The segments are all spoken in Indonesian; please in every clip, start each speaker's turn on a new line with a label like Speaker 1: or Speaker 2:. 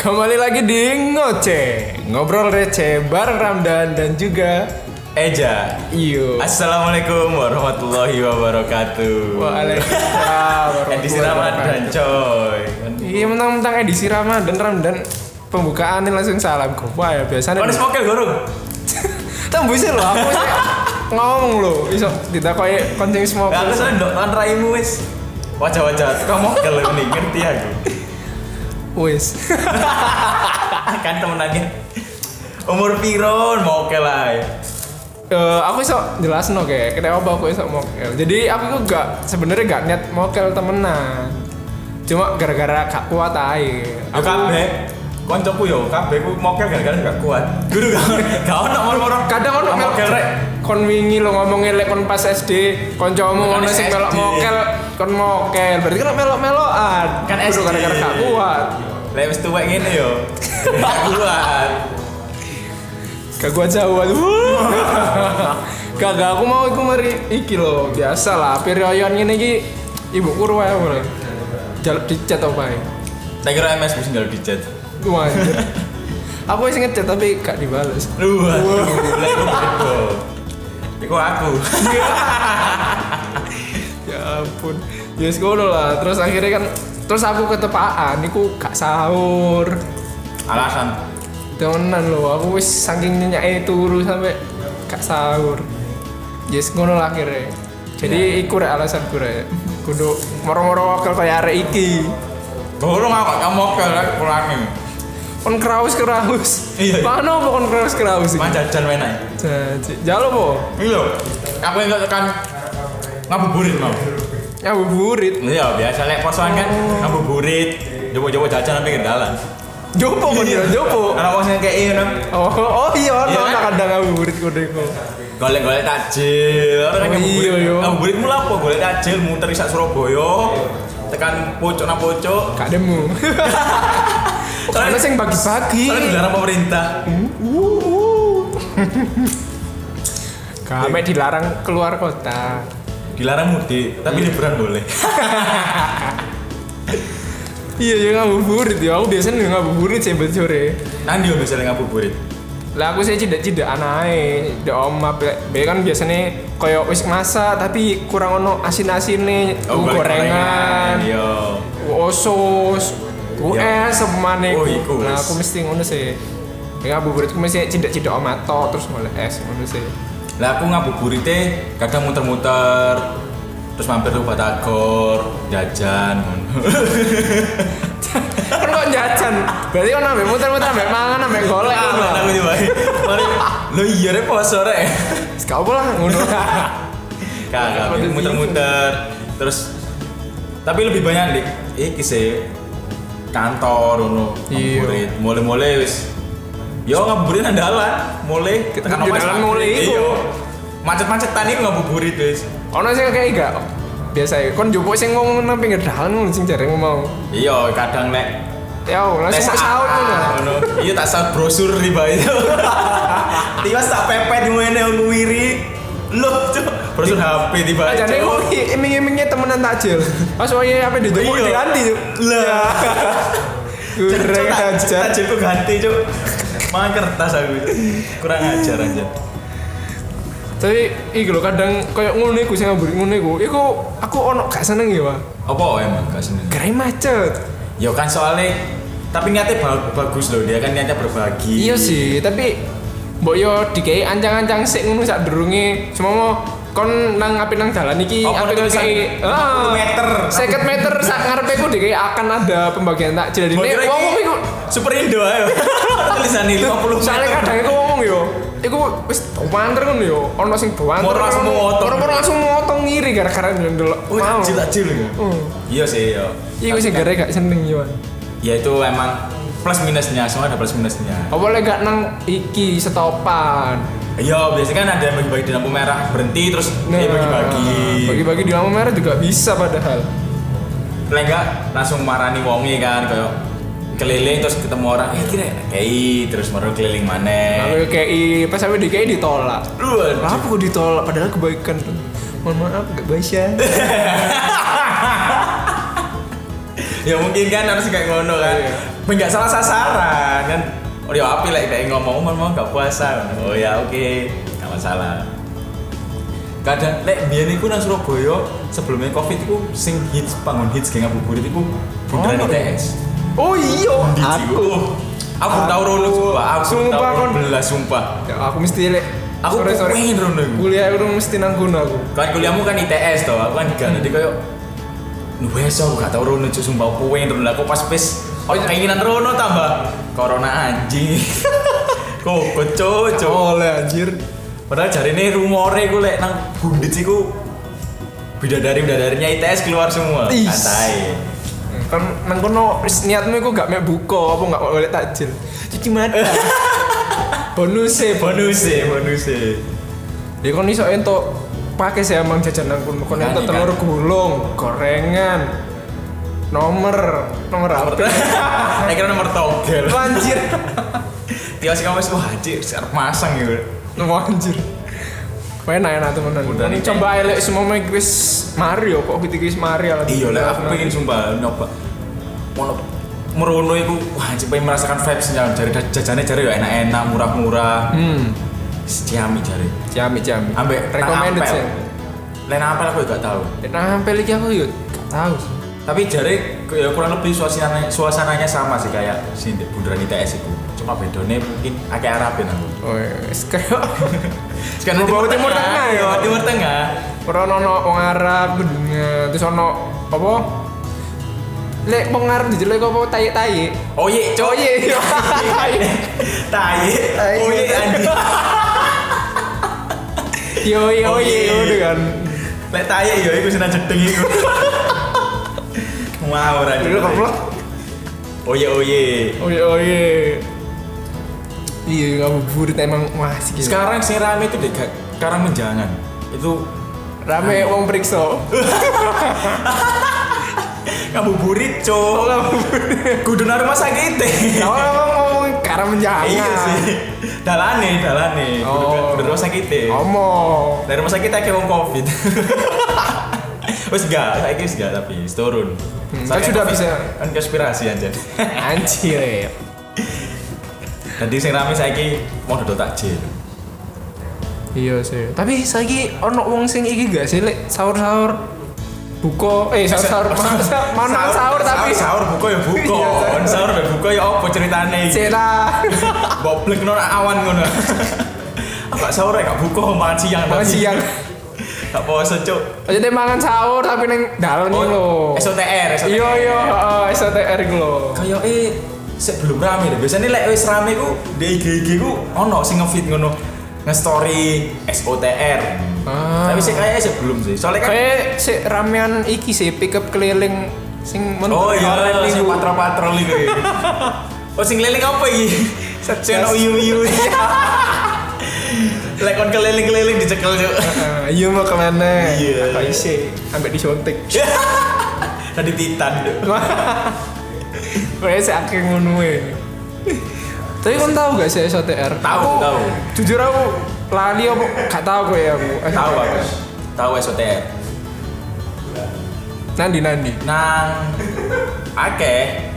Speaker 1: Kembali lagi di Ngoce Ngobrol receh bareng Ramdan dan juga
Speaker 2: Eja.
Speaker 1: Iyo
Speaker 2: Assalamualaikum warahmatullahi wabarakatuh.
Speaker 1: Waalaikumsalam
Speaker 2: Edisi Ramadan coy.
Speaker 1: Iya mentang-mentang edisi Ramadan Ramdan Pembukaannya langsung salam Wah ya biasanya
Speaker 2: Panas mokel gorong.
Speaker 1: Tembusnya loh aku sih ngomong loh Bisa tidak kayak kencing semua
Speaker 2: Nah, aku soalnya ndok lan raimu wis. Wajah-wajah tukang mokel ini ngerti aku.
Speaker 1: Wis
Speaker 2: kan temenannya. Umur piron mokel ae.
Speaker 1: Eh, aku iso jelasin oke, kenapa aku iso mokel. Jadi aku tuh gak sebenarnya gak niat mokel temenan. Cuma gara-gara gak kuat aja.
Speaker 2: Yo kabeh. Koncoku yo kabeh ku mokel gara-gara gak kuat. Guru gak gak ono moro-moro.
Speaker 1: kadang ono
Speaker 2: Tukang
Speaker 1: mel
Speaker 2: mokel rek.
Speaker 1: kon wingi lo ngomongin lek kon pas SD koncomu
Speaker 2: Bukan
Speaker 1: ono sing
Speaker 2: SD.
Speaker 1: melok mokel kon mokel berarti kan melok-melokan
Speaker 2: Kan
Speaker 1: Kudu
Speaker 2: SD.
Speaker 1: gara-gara gak kuat
Speaker 2: Lek wis tuwek ngene yo. Gak kuat.
Speaker 1: gak kuat jauh gak gak aku mau iku mari iki lo biasa lah perioyon ngene iki ibu kurwa ya boleh jaluk dicat apa ya
Speaker 2: Tak kira MS mesti njaluk dicat.
Speaker 1: Wah, anjir. aku sih ngechat tapi gak dibales.
Speaker 2: Lu aduh, lah iku bedo. Iku aku.
Speaker 1: Ya ampun. Ya yes, ngono lah. Terus akhirnya kan terus aku ketepaan niku gak sahur.
Speaker 2: Alasan.
Speaker 1: Temenan loh, aku wis saking nyenyake turu sampe gak sahur. Yes ngono lah akhirnya.
Speaker 2: Iya,
Speaker 1: Jadi iku rek alasan gue rek. Kudu moro-moro wakil kayak arek iki.
Speaker 2: Gorong aku gak mokel lek pulangi.
Speaker 1: Kon kraus kraus.
Speaker 2: Iya, iya.
Speaker 1: Mana apa kon kraus kraus iki?
Speaker 2: Mas jajan menai.
Speaker 1: Jadi, jalo po.
Speaker 2: Iya. Aku enggak tekan ngabuburit mau.
Speaker 1: Nyabuburit.
Speaker 2: Iya, biasa lek posoan kan ngabuburit. Jowo-jowo jajan sampai kendalan.
Speaker 1: Jopo kon ya, jopo.
Speaker 2: Ana wong sing kei ngono.
Speaker 1: Oh, oh iya, ono
Speaker 2: Iya kan?
Speaker 1: yeah. kadang ngabuburit kodeko.
Speaker 2: Golek-golek takjil. Ora
Speaker 1: Oh, iya, iya.
Speaker 2: Ngabuburit mula apa golek takjil muter isak Surabaya. Tekan pucuk nang pucuk.
Speaker 1: Gak demu. Soalnya sing bagi-bagi. Uh,
Speaker 2: Soalnya dilarang pemerintah.
Speaker 1: Kami dilarang keluar kota.
Speaker 2: Dilarang mudik, tapi liburan boleh.
Speaker 1: Iya, ya ngabuburit ya. Aku biasanya ngabuburit sih ben sore.
Speaker 2: Nanti yo misalnya ngabuburit.
Speaker 1: Lah aku sih cidak-cidak anae, cidak oma. Be kan biasanya koyo wis masak tapi kurang ono asin-asine, oh,
Speaker 2: balik
Speaker 1: gorengan,
Speaker 2: Yo.
Speaker 1: osos,
Speaker 2: Iya.
Speaker 1: US semane.
Speaker 2: Oh, iku
Speaker 1: Nah,
Speaker 2: wis.
Speaker 1: aku mesti ngono sih. Ya ngabuburitku mesti cidak-cidak oma tok terus mulai es ngono sih.
Speaker 2: Lah aku ngabuburite kadang muter-muter terus mampir ke Batagor, jajan ngono.
Speaker 1: kan kok jajan berarti kan nambah muter-muter nambah mangan nambah golek
Speaker 2: Ah,
Speaker 1: ngono.
Speaker 2: aku diwai. Mari. Lo iya rek poso rek.
Speaker 1: gak apa lah ngono
Speaker 2: Kagak
Speaker 1: Waduh,
Speaker 2: muter-muter terus tapi lebih banyak dik iki sih kantor ngono
Speaker 1: Iya.
Speaker 2: ngabuburit. Mulai-mulai wis Yo ngabuburit nang dalan, mulai tekan
Speaker 1: Di
Speaker 2: omas
Speaker 1: dalan
Speaker 2: maghrib.
Speaker 1: mulai iku.
Speaker 2: kan Iya. Macet-macetan iku ngabuburit wis.
Speaker 1: ono sing kayak gak biasa ya kon jupuk sing ngomong nang pinggir dalan ngono sing jarang mau
Speaker 2: Iya, kadang nek
Speaker 1: ya langsung
Speaker 2: Nek
Speaker 1: wis out ngono ya?
Speaker 2: ngono. Iya tak saut brosur riba itu. Tiba tak pepet di mana yang wiri. Loh, cok. Brosur
Speaker 1: Iya.
Speaker 2: HP tiba.
Speaker 1: jadi aku iming-imingnya temenan takjil pas wae apa di jupuk
Speaker 2: Iya.
Speaker 1: diganti Cuk.
Speaker 2: Lah.
Speaker 1: kurang ajar
Speaker 2: Tajilku ganti, cok. Makan kertas aku. Kurang ajar aja.
Speaker 1: tapi iki lho kadang koyo ngono iku sing ngaburi ngono iku iku aku ono gak seneng ya Wak.
Speaker 2: Apa emang gak seneng?
Speaker 1: gara macet
Speaker 2: Ya kan soalnya tapi niatnya ba- bagus loh dia kan niatnya berbagi.
Speaker 1: Iya sih, tapi mbok yo dikei ancang-ancang sik ngono sak durunge. Cuma mau kon nang ape nang dalan iki, Ah.
Speaker 2: Oh,
Speaker 1: ape
Speaker 2: ono tulisan 40 meter.
Speaker 1: 50 meter sak ngarepe ku dikei akan ada pembagian takjil. Jadi
Speaker 2: Mbak
Speaker 1: nek
Speaker 2: kira
Speaker 1: wong
Speaker 2: iki
Speaker 1: iku
Speaker 2: Super Indo ayo. Tulisan ini 50
Speaker 1: soalnya
Speaker 2: meter.
Speaker 1: kadang iku ngomong yo, iku wis banter ngono yo, ono sing banter.
Speaker 2: Moro langsung motong.
Speaker 1: Moro langsung motong ngiri gara-gara ndelok.
Speaker 2: Oh,
Speaker 1: Mau. Hmm.
Speaker 2: takjil takjil. Iya sih, iya.
Speaker 1: Iku sing gara gak seneng yo.
Speaker 2: ya itu emang plus minusnya semua ada plus minusnya
Speaker 1: Apa lek gak nang iki setopan.
Speaker 2: iya biasanya kan ada yang bagi-bagi di lampu merah berhenti terus dia Iya, bagi-bagi
Speaker 1: Nah, Bagi-bagi di lampu merah juga bisa padahal.
Speaker 2: Lah enggak langsung marani wonge kan kayak keliling terus ketemu orang eh kira kei terus baru keliling mana
Speaker 1: Lalu ya? KI, pas sampai di KI ditolak.
Speaker 2: lu aduh.
Speaker 1: Kenapa kok ditolak? Padahal kebaikan. Mohon maaf, gak bisa.
Speaker 2: ya mungkin kan harus kayak ngono kan
Speaker 1: Iya.
Speaker 2: Tapi nggak salah sasaran kan oh ya api lah kayak ngomong mau mau nggak puasa oh ya oke nggak masalah kadang lek biyen iku nang Surabaya sebelumnya covid iku sing hits bangun hits geng ngabuburit iku bundaran
Speaker 1: Oh,
Speaker 2: ITS
Speaker 1: Oh iya.
Speaker 2: Di
Speaker 1: Aku.
Speaker 2: Jiwo. aku tahu rono sumpah aku
Speaker 1: Sumpah,
Speaker 2: tahu
Speaker 1: kon.
Speaker 2: belas sumpah
Speaker 1: Ya, aku mesti lek.
Speaker 2: Aku pengen rono iku.
Speaker 1: Kuliah aku mesti nang kono aku.
Speaker 2: kan kuliahmu kan ITS toh aku kan di
Speaker 1: Hmm.
Speaker 2: Ghana jadi kayak nuweso aku gak tau rono cuy sumpah aku pengen rono aku pas pes oh keinginan rono tambah corona anjing kok kocok cok
Speaker 1: Oleh anjir.
Speaker 2: padahal jari ini rumore gue lek nang gundit sih gue bidadari bidadarinya ITS keluar semua
Speaker 1: Is.
Speaker 2: katai
Speaker 1: Kan nang kono wis niatmu iku gak mek buka apa gak oleh takjil. Cuci mata. bonus e, bonus.
Speaker 2: bonus sih bonus sih
Speaker 1: Ya kon iso entuk pakai sih emang jajan nang kono. Kon
Speaker 2: Kan,
Speaker 1: entuk
Speaker 2: kan.
Speaker 1: telur gulung, gorengan. Nomor, nomor
Speaker 2: nomor
Speaker 1: apa?
Speaker 2: saya kira nomor togel
Speaker 1: Anjir.
Speaker 2: tiap sih kamu wah anjir siap masang gitu
Speaker 1: Nomor anjir. Enak enak temenan.
Speaker 2: Udah
Speaker 1: Ini
Speaker 2: nih,
Speaker 1: coba elek semua mic wis Mario kok gitu wis Mario.
Speaker 2: iya lah aku pengen sumpah nyoba mau merono itu wah anjir pengen merasakan vibes-nya jari jajannya jari ya enak-enak murah-murah
Speaker 1: Hmm,
Speaker 2: setiami jari
Speaker 1: jami jami.
Speaker 2: ambek
Speaker 1: recommended sih.
Speaker 2: lain apa aku gak tahu
Speaker 1: Nampel lagi aku yuk. Gak tahu. sih.
Speaker 2: tapi jari ya kurang lebih suasananya, suasananya sama sih kayak si di bundaran ITS itu cuma bedone mungkin agak Arabin aku
Speaker 1: Oh, ya, wis kayak
Speaker 2: sekarang
Speaker 1: Mau bawa Timur Tengah ya?
Speaker 2: Bawa Timur Tengah
Speaker 1: ora ono wong Arab gedunge, terus ono apa? Lek wong Arab dijelek apa tai-tai.
Speaker 2: oh iya
Speaker 1: Oh
Speaker 2: coy
Speaker 1: iya.
Speaker 2: tai
Speaker 1: Tai.
Speaker 2: oh iya anjir
Speaker 1: Yo yo
Speaker 2: Oh,
Speaker 1: yo
Speaker 2: iya.
Speaker 1: ngono kan.
Speaker 2: Lek taye ya iku senang jedeng iku. Wow, ora
Speaker 1: Dulu keplok.
Speaker 2: Oye oye.
Speaker 1: Oh iya oh iya. Iya, ngabuburit emang wah sih. Sekarang
Speaker 2: Sekarang sing rame itu dek Karang Menjangan. Itu
Speaker 1: rame wong periksa.
Speaker 2: ngabuburit,
Speaker 1: Oh,
Speaker 2: Cok. Kudu nang rumah sakit.
Speaker 1: Tahu emang ngomong karena menjangan.
Speaker 2: Iya sih. Dalane, dalane. Kudu
Speaker 1: Oh.
Speaker 2: kudu rumah sakit.
Speaker 1: Omong.
Speaker 2: Dari rumah sakit akeh wong Covid. Wes enggak, saiki wis enggak tapi wis turun.
Speaker 1: Hmm,
Speaker 2: Soalnya
Speaker 1: kan sudah
Speaker 2: Covid
Speaker 1: bisa.
Speaker 2: kan konspirasi aja.
Speaker 1: Anjir. ya.
Speaker 2: Jadi sing rame saiki mau dodol takjil.
Speaker 1: Iya sih. Tapi saiki ono wong sing iki gak sih lek sahur-sahur buka eh sahur-sahur masa mana sahur tapi
Speaker 2: sahur buka ya buka
Speaker 1: Iya, sahur.
Speaker 2: sahur ya buka ya apa ceritane iki
Speaker 1: cera
Speaker 2: goblek nona awan ngono Gak sahur ya gak buka makan siang
Speaker 1: makan
Speaker 2: tapi.
Speaker 1: siang.
Speaker 2: gak puasa cuk
Speaker 1: Aja deh mangan sahur tapi neng dalan oh, lho.
Speaker 2: SOTR SOTR
Speaker 1: Iya iya heeh STR iku lho.
Speaker 2: kaya eh sik belum rame deh biasanya lek wis rame ku di IG IG ku ono sing ngefit ngono nge-story SOTR
Speaker 1: Ah.
Speaker 2: tapi sih kayaknya sih belum sih soalnya kan
Speaker 1: Kayak si ramean iki sih pick up keliling sing men
Speaker 2: oh iya
Speaker 1: online
Speaker 2: sing
Speaker 1: iku.
Speaker 2: patrol-patrol iku ya. oh sing keliling apa iki sing ono iu-iu Lek kon keliling-keliling dicekel yuk.
Speaker 1: Heeh, Iya mau kemana?
Speaker 2: Iya.
Speaker 1: Kayak sih ambek disuntik.
Speaker 2: Tadi Titan.
Speaker 1: Kayak sih akhir ngono ya. Tapi kon tahu gak sih SOTR?
Speaker 2: Tahu,
Speaker 1: Aku-
Speaker 2: tahu.
Speaker 1: Jujur aku lali apa gak tahu kok ya aku.
Speaker 2: Tahu aku. Tahu SOTR.
Speaker 1: Nandi nandi.
Speaker 2: Nang akeh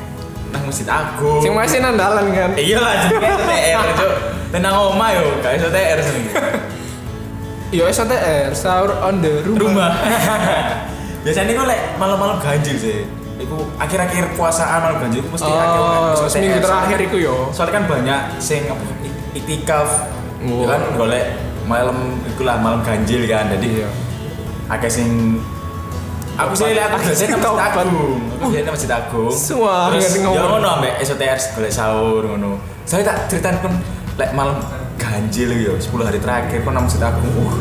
Speaker 2: nang Masjid Agung.
Speaker 1: Sing masih nandalan kan.
Speaker 2: Iya lah jenenge SOTR, Cuk. Tenang oma yo, gak SOTR sini.
Speaker 1: Yo SOTR sahur on the rumah.
Speaker 2: Rumah. Biasanya gue lek malam-malam ganjil sih. Iku akhir-akhir puasaan malam ganjil iku mesti akeh
Speaker 1: Oh,
Speaker 2: SOTR.
Speaker 1: seminggu terakhir iku yo.
Speaker 2: soalnya kan banyak sing apa, i- itikaf
Speaker 1: Wow.
Speaker 2: ya kan golek malam ikulah malam ganjil kan jadi
Speaker 1: Iya.
Speaker 2: akeh sing aku sih lihat aku biasanya nang masjid
Speaker 1: Tobat.
Speaker 2: agung aku biasanya nang masjid agung
Speaker 1: Suah,
Speaker 2: terus
Speaker 1: ngerti
Speaker 2: ya
Speaker 1: ngomong.
Speaker 2: ngono ambek SOTR golek sahur ngono saya tak ceritain pun lek malam ganjil yo 10 hari terakhir pun nang masjid agung uh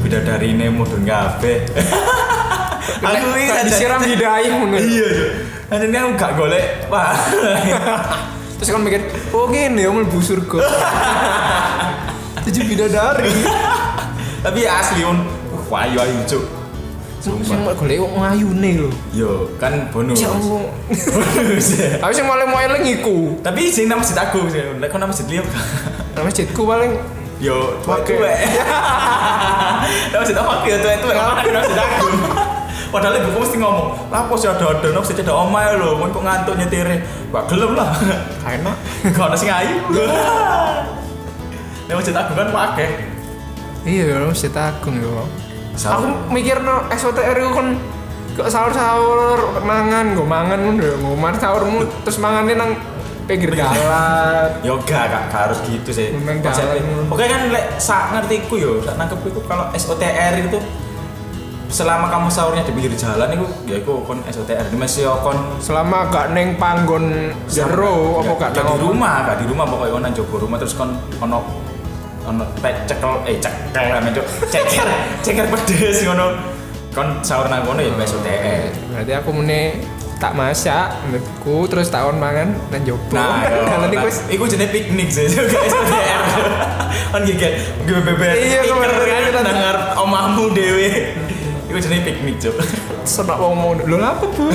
Speaker 2: beda dari ini mudun kabeh aku
Speaker 1: Lek-
Speaker 2: ini
Speaker 1: lek disiram hidayah ngono.
Speaker 2: iya Cuk. Nah, ini aku gak golek wah
Speaker 1: Terus kan mikir, oh gini ya mlebu surga. Tujuh bidadari.
Speaker 2: tapi ya asli un wah ayu ayu cuk
Speaker 1: Sing mau
Speaker 2: sumpah
Speaker 1: golek wong ayune lho.
Speaker 2: yo kan bonus
Speaker 1: Ya Allah.
Speaker 2: bonus ya.
Speaker 1: Tapi sing paling mau eling iku.
Speaker 2: tapi sing nama masjid aku sih lek kau nama masjid liam
Speaker 1: Nang masjidku paling
Speaker 2: yo tua
Speaker 1: Oke.
Speaker 2: tua nama masjid aku ya tua tua nama masjid aku Padahal ibuku mesti ngomong, "Lapo sih ada ada sih cedak omae lho, kon kok ngantuk nyetire." Gak gelem lah.
Speaker 1: enak
Speaker 2: Gak ada sing ayu. Nek wis tak kan akeh.
Speaker 1: iya lo mesti takung yo
Speaker 2: Sahur.
Speaker 1: aku mikir no SOTR itu kan kok sahur sahur mangan gue mangan udah ngomar sahurmu terus mangannya nang pinggir jalan
Speaker 2: Yoga gak gak harus gitu sih.
Speaker 1: Memang
Speaker 2: Konsepnya.
Speaker 1: jalan.
Speaker 2: Oke kan lek sak ngertiku yo, sak nangkepku iku kalau SOTR itu selama kamu sahurnya di pinggir jalan itu ya itu kon SOTR ini masih yo ya kon
Speaker 1: selama gak neng panggon jero apa gak
Speaker 2: Ya,
Speaker 1: nang omah.
Speaker 2: di rumah gak di rumah pokoknya ono jogo rumah terus kon ono ono te- cekel eh cekel lah mencok ceker ceker pedes ngono kon sahur nang kono ya besok TE
Speaker 1: berarti aku mene tak masak mbekku terus tak on mangan dan jopo
Speaker 2: nah yo,
Speaker 1: kalau niku wis-
Speaker 2: nah, iku jenis piknik sih juga SOTR kan gigi gue bebek
Speaker 1: Iya, kemarin aja tadi.
Speaker 2: dengar omahmu dewe iku jenis piknik cok
Speaker 1: senak wong mau lho lah apa bu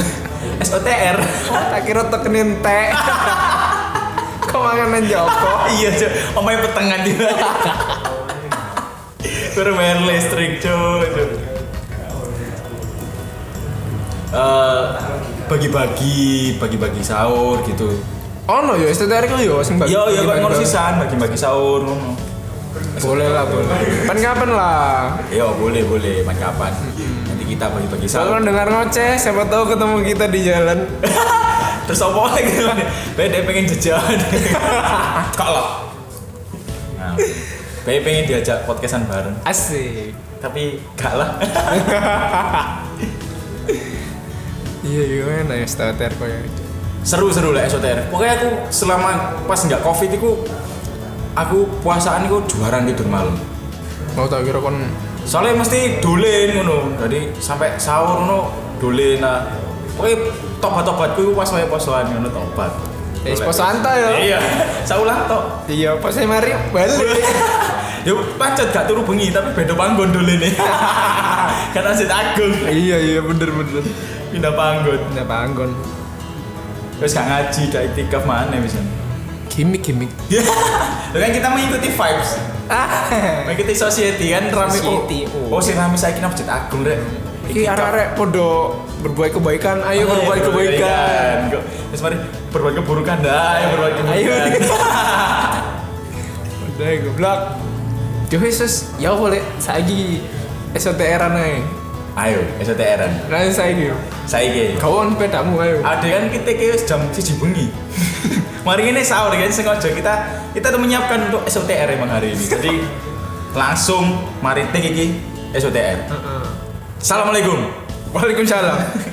Speaker 2: SOTR
Speaker 1: oh, tak kira tekenin teh kok mangan nang jopo
Speaker 2: iya cok omahnya petengan juga Terus bayar listrik cok cok. Eh, bagi-bagi bagi-bagi sahur gitu
Speaker 1: ono yo STTR ku yo sing bagi-
Speaker 2: iya iya kok
Speaker 1: bagi-
Speaker 2: ngono sisan bagi-bagi sahur ngono
Speaker 1: boleh lah boleh pan kapan lah
Speaker 2: iya boleh boleh main kapan nanti kita bagi-bagi sahur
Speaker 1: Hmm. kalau dengar ngoceh siapa tahu ketemu kita di jalan
Speaker 2: terus apa lagi kan beda pengen jajan kok lah nah, Bede pengen diajak podcastan bareng
Speaker 1: asik
Speaker 2: tapi gak lah
Speaker 1: iya gimana ya STTR kok ya
Speaker 2: seru-seru lah SOTR pokoknya aku selama pas nggak covid itu aku puasaan itu juara tidur malam
Speaker 1: mau tak kira kon
Speaker 2: soalnya mesti dolen ngono jadi sampai sahur ngono dolen nah pokoknya tobat-tobatku itu pas saya posoan ngono tobat
Speaker 1: Eh, poso santai ya?
Speaker 2: iya saulah tok
Speaker 1: iya pas saya mari balik
Speaker 2: ya pancet gak turu bengi tapi beda panggon dolen nih karena asit agung
Speaker 1: iya iya bener bener
Speaker 2: pindah panggon
Speaker 1: Nah, panggon.
Speaker 2: terus gak ngaji gak itikaf mana misalnya
Speaker 1: Gimik gimik.
Speaker 2: ya kan kita mengikuti vibes
Speaker 1: Ah.
Speaker 2: Mengikuti society kan rame
Speaker 1: Society, oh.
Speaker 2: oh. Oh, sing rame saiki nang Masjid Agung rek.
Speaker 1: Iki arek-arek podo berbuat kebaikan, ayo
Speaker 2: Ayo
Speaker 1: berbuat kebaikan.
Speaker 2: Kok wis mari berbuat keburukan dah, ayo berbuat
Speaker 1: Ayo.
Speaker 2: kebaikan.
Speaker 1: Udah goblok. Yo Yesus, ya boleh saiki SOTR anae.
Speaker 2: Ayo, STR-an.
Speaker 1: Lan saiki. yo.
Speaker 2: Saiki.
Speaker 1: Kawan pedamu ayo.
Speaker 2: Ada kan kita ke wis jam 1 bengi. mari ini sahur kan sengaja kita kita tuh menyiapkan untuk SOTR emang hari ini. Jadi langsung mari tik iki SOTR.
Speaker 1: Heeh.
Speaker 2: Assalamualaikum.
Speaker 1: Waalaikumsalam.